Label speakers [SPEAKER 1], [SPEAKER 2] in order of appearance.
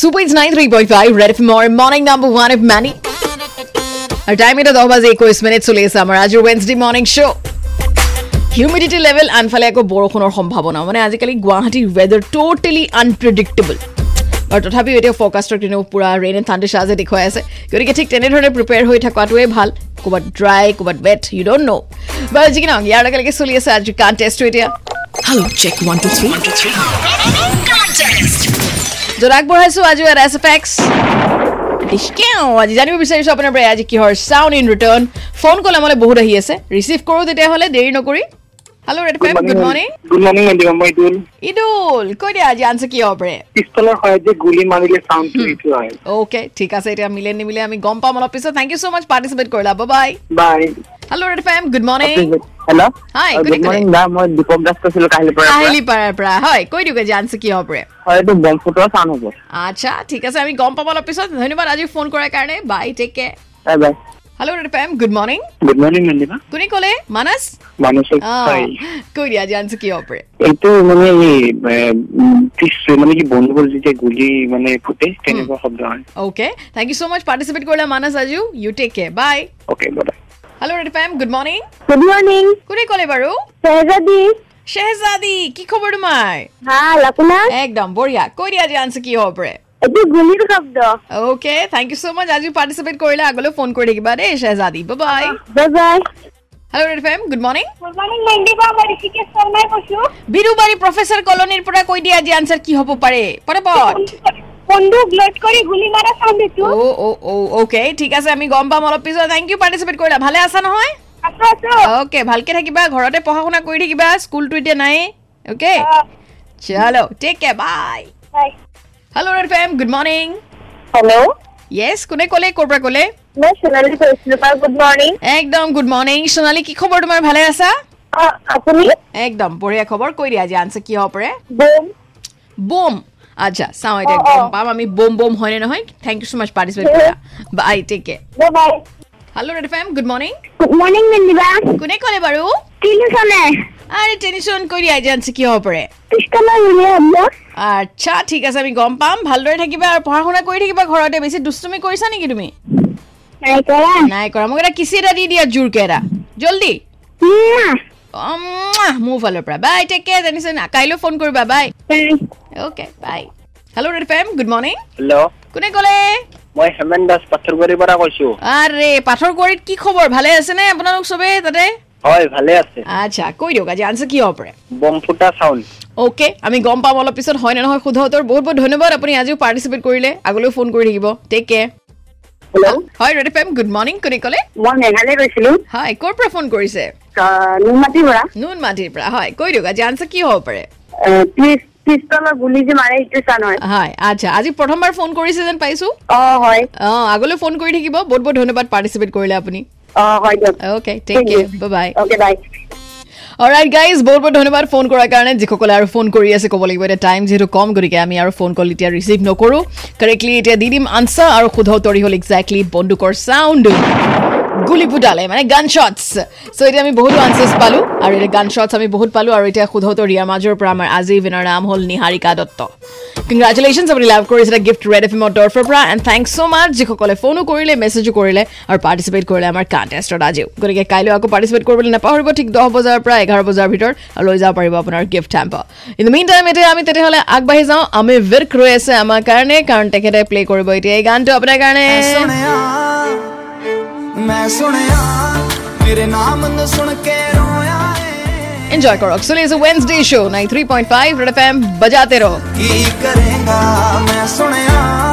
[SPEAKER 1] Super it's nine three point five red F और morning number one of many और time मेरा दो बजे একৈশ মিনিট চলি আছে আমাৰ আজিৰ Wednesday morning show' humidity level আনফালে আকৌ বৰষুণৰ সম্ভাৱনা মানে আজিকালি গুৱাহাটীৰ ৱেডাৰ ট'টেলি আনপ্ৰেডিক্টেবল আৰু তথাপিও এতিয়া ফ'কাষ্টৰ কিন্তু পূৰা ৰেইন এণ্ড থাণ্ডাৰ শ্বাজে দেখুৱাই আছে গতিকে ঠিক তেনেধৰণে প্ৰিপেয়াৰ হৈ থকাটোৱে ভাল ক'ৰবাত ড্ৰাই ক'ৰবাত ৱেট ইউ ড'ন্ট ন' বাৰু যি কি নহওক ইয়াৰ লগে লগে চলি আছে আজিৰ কণ্টেষ্টটো এতিয়া hello' check one two three য'ত আগবঢ়াইছোঁ আজিও এটা এছ এফ এক্স কেও আজি জানিব বিচাৰিছোঁ আপোনাৰ পৰা আজি কিহৰ sound in return phone call আমালৈ বহুত আহি আছে ৰিচিভ কৰোঁ তেতিয়াহ'লে দেৰি নকৰি hello' red FM good morning
[SPEAKER 2] good morning মেডিকাম মই ইদুল
[SPEAKER 1] ইদুল কৈ দিয়া আজি আনচাৰ কিহৰ পৰা
[SPEAKER 2] পিষ্টলৰ সহায়ত যে গুলি মাৰিলে
[SPEAKER 1] Hmm.
[SPEAKER 2] চাউণ্ডটো এইটো হয়
[SPEAKER 1] অ'কে ঠিক আছে এতিয়া মিলে নিমিলে আমি গম পাম অলপ পিছত thank you so' much participate কৰিলা bye
[SPEAKER 2] bye
[SPEAKER 1] hello' red FM good morning
[SPEAKER 2] hello'
[SPEAKER 1] Hi, good
[SPEAKER 2] good morning
[SPEAKER 1] evening.
[SPEAKER 2] দা মই দীপক দাস কৈছিলো কাহিলীৰ পৰা
[SPEAKER 1] আহিলিপাৰাৰ পৰা হয় কৈ দিওঁ আজি আনচাৰ কিহৰ পৰা
[SPEAKER 2] হয় এইটো বম ফুটোৱা চাউণ্ড হ'ব
[SPEAKER 1] আচ্ছা ঠিক আছে আমি গম পাম অলপ পিছত ধন্যবাদ আজি ফোন কৰাৰ কাৰণে bye take care
[SPEAKER 2] bye bye
[SPEAKER 1] hello' red FM good morning
[SPEAKER 2] good morning মেডিকা
[SPEAKER 1] কোনে ক'লে মানস
[SPEAKER 2] মানসিক
[SPEAKER 1] অঁ
[SPEAKER 2] হয়
[SPEAKER 1] কৈ দিয়া আজি আনচাৰ কিহৰ পৰা
[SPEAKER 2] এইটো মানে এই এ, উম, পিছ- মানে কি বন্ধুবোৰ যেতিয়া গুলি মানে ফুটে
[SPEAKER 1] Hmm.
[SPEAKER 2] তেনেকুৱা শব্দ হয়
[SPEAKER 1] okay thank you so much participate करला मानस आजू you take care bye
[SPEAKER 2] okay bye
[SPEAKER 1] hello red FM good morning
[SPEAKER 3] good morning
[SPEAKER 1] কোনে ক'লে বাৰু
[SPEAKER 3] শেহজাদী
[SPEAKER 1] শেহজাদী কি খবৰ তোমাৰ
[SPEAKER 3] ভাল আপোনাৰ
[SPEAKER 1] একদম বঢ়িয়া কৈ দিয়া যে আনচাৰ কি হ'ব পাৰে
[SPEAKER 3] এইটো গুলিৰ শব্দ
[SPEAKER 1] okay thank you so' much আজি পাৰ্টিচিপেট কৰিলে আগলৈ ফোন কৰি থাকিবা দেই Shehzadi bye
[SPEAKER 3] bye bye
[SPEAKER 1] hello' red FM good morning
[SPEAKER 3] good morning মেণ্ডিবা মই ঋষিকেশ শৰ্মাই কৈছো
[SPEAKER 1] বিৰুবাৰী প্ৰফেচাৰ কলনীৰ পৰা কৈ দিয়া যে আনচাৰ কি হ'ব পাৰে পটাপট
[SPEAKER 3] বন্দুক লোড কৰি গুলি মাৰা চাউণ্ড এইটো
[SPEAKER 1] অ' অ' অ' অ'কে ঠিক আছে আমি গম পাম অলপ পিছত থেংক ইউ পাৰ্টিচিপেট কৰিলা ভালে আছা নহয়
[SPEAKER 3] আছো আছো
[SPEAKER 1] অ'কে ভালকে থাকিবা ঘৰতে পঢ়া শুনা কৰি থাকিবা স্কুলটো এতিয়া নাই অ'কে চলো take care bye hello' red FM good morning
[SPEAKER 3] hello'
[SPEAKER 1] yes কোনে ক'লে ক'ৰ পৰা ক'লে
[SPEAKER 3] মই সোণালী কৈছিলো বাৰু গুড মৰ্ণিং
[SPEAKER 1] একদম গুড মৰ্ণিং সোণালী কি খবৰ তোমাৰ ভালে আছা
[SPEAKER 3] অ আপুনি
[SPEAKER 1] একদম বঢ়িয়া খবৰ কৈ দিয়া আজি আনচাৰ কি হ'ব পাৰে
[SPEAKER 3] বম
[SPEAKER 1] বোম আচ্ছা চাওঁ এতিয়া
[SPEAKER 3] অ, অ।
[SPEAKER 1] গম পাম আমি বোম বোম হয়নে নহয় thank you so' much participate কৰা bye take care
[SPEAKER 3] bye bye
[SPEAKER 1] hello' red FM good morning
[SPEAKER 3] good morning মেণ্ডিবা
[SPEAKER 1] কোনে ক'লে বাৰু
[SPEAKER 3] তিনিজনে
[SPEAKER 1] আৰে টেনশ্যন কৰি দিয়া আজি আনচাৰ কি হ'ব পাৰে
[SPEAKER 3] পিষ্টলৰ গুলি শব্দ
[SPEAKER 1] আচ্ছা ঠিক আছে আমি গম পাম ভালদৰে থাকিবা আৰু পঢ়া শুনা কৰি থাকিবা ঘৰতে বেছি দুষ্টুমি কৰিছা নেকি তুমি
[SPEAKER 3] নাই কৰা
[SPEAKER 1] নাই কৰা মোক এটা কিচি এটা দি দিয়া জোৰকে এটা জল্দি অম, মুৱা, মোৰ ফালৰ পৰা বাই টেক কেয়াৰ জানিছে না কাইলৈ ফোন কৰিবা bye okay bye hello' red FM good morning
[SPEAKER 2] hello'
[SPEAKER 1] কোনে ক'লে
[SPEAKER 2] মই হেমেন দাস পাথৰবাৰীৰ পৰা কৈছো
[SPEAKER 1] আৰে পাথৰকুঁৱৰীত কি খবৰ ভালে আছেনে আপোনালোক চবেই তাতে
[SPEAKER 2] হয় ভালে আছে
[SPEAKER 1] আচ্ছা কৈ দিয়ক আজি আনচাৰ কি হ'ব পাৰে
[SPEAKER 2] বম ফুটা চাউণ্ড
[SPEAKER 1] অ'কে আমি গম পাম অলপ পিছত হয় নে নহয় শুদ্ধ উত্তৰ বহুত বহুত ধন্যবাদ আপুনি আজিও পাৰ্টিচিপেট কৰিলে আগলৈও ফোন কৰি থাকিব টেক কেয়াৰ
[SPEAKER 3] হেল্ল'
[SPEAKER 1] হয় ৰেড ফেম গুড মৰ্ণিং কোনে ক'লে
[SPEAKER 3] মই মেঘালয় কৈছিলো
[SPEAKER 1] হয় ক'ৰ পৰা ফোন কৰিছে
[SPEAKER 3] নুনমাটিৰ পৰা
[SPEAKER 1] নুনমাটিৰ পৰা হয় কৈ দিয়ক আজি আনচাৰ কি হ'ব পাৰে
[SPEAKER 3] পিষ্টলৰ গুলি যে মাৰে সেইটো চান হয়
[SPEAKER 1] হয় আচ্ছা আজি প্ৰথমবাৰ ফোন কৰিছে যেন পাইছোঁ
[SPEAKER 3] অ হয়
[SPEAKER 1] অঁ আগলৈ ফোন কৰি থাকিব বহুত বহুত ধন্যবাদ পাৰ্টিচিপেট কৰিলে আপুনি
[SPEAKER 3] অ হয় দিয়ক
[SPEAKER 1] okay take care bye
[SPEAKER 3] okay bye
[SPEAKER 1] alright guys বহুত বহুত ধন্যবাদ ফোন কৰাৰ কাৰণে যিসকলে আৰু ফোন কৰি আছে ক'ব লাগিব এতিয়া টাইম যিহেতু কম গতিকে আমি আৰু ফোন কল এতিয়া ৰিচিভ নকৰোঁ কাৰেক্টলি এতিয়া দি দিম আনচাৰ আৰু শুদ্ধ উত্তৰি হ'ল একজেক্টলি বন্দুকৰ চাউণ্ড গুলি ফুটালে মানে গান শ্বটছ চ' এতিয়া আমি বহুতো আনচাৰ্ছ পালোঁ আৰু এতিয়া গান শ্বটছ আমি বহুত পালোঁ আৰু এতিয়া শুদ্ধ উত্তৰ ইয়াৰ মাজৰ পৰা আমাৰ আজিৰ উইনাৰ নাম হ'ল নিহাৰিকা দত্ত কংগ্ৰেচুলেশ্যনছ আপুনি লাভ কৰিছে এটা গিফ্ট ৰেড এফ এমৰ তৰফৰ পৰা এণ্ড থেংক ছ' মাছ যিসকলে ফোনো কৰিলে মেছেজো কৰিলে আৰু পাৰ্টিচিপেট কৰিলে আমাৰ কণ্টেষ্টত আজিও গতিকে কাইলৈ আকৌ পাৰ্টিচিপেট কৰিবলৈ নাপাহৰিব ঠিক দহ বজাৰ পৰা এঘাৰ বজাৰ ভিতৰত আৰু লৈ যাব পাৰিব আপোনাৰ gift hamper in the main time এতিয়া আমি তেতিয়াহ'লে আগবাঢ়ি যাওঁ আমি বিৰ্ক ৰৈ আছে আমাৰ কাৰণে কাৰণ তেখেতে প্লে' কৰিব এতিয়া এই গানটো আপোনাৰ কাৰণে
[SPEAKER 4] ਸੁਣਿਆ ਮੈਂ ਸੁਣਿਆ ਮੇਰੇ ਨਾਮ ਨੂੰ ਸੁਣ ਕੇ ਰੋਇਆ ਏ
[SPEAKER 1] এনজয় কৰক চলি আছে Wednesday show' nine three point five red F M বজাতে ৰহ
[SPEAKER 4] ਕੀ ਕਰੇਗਾ ਮੈਂ ਸੁਣਿਆ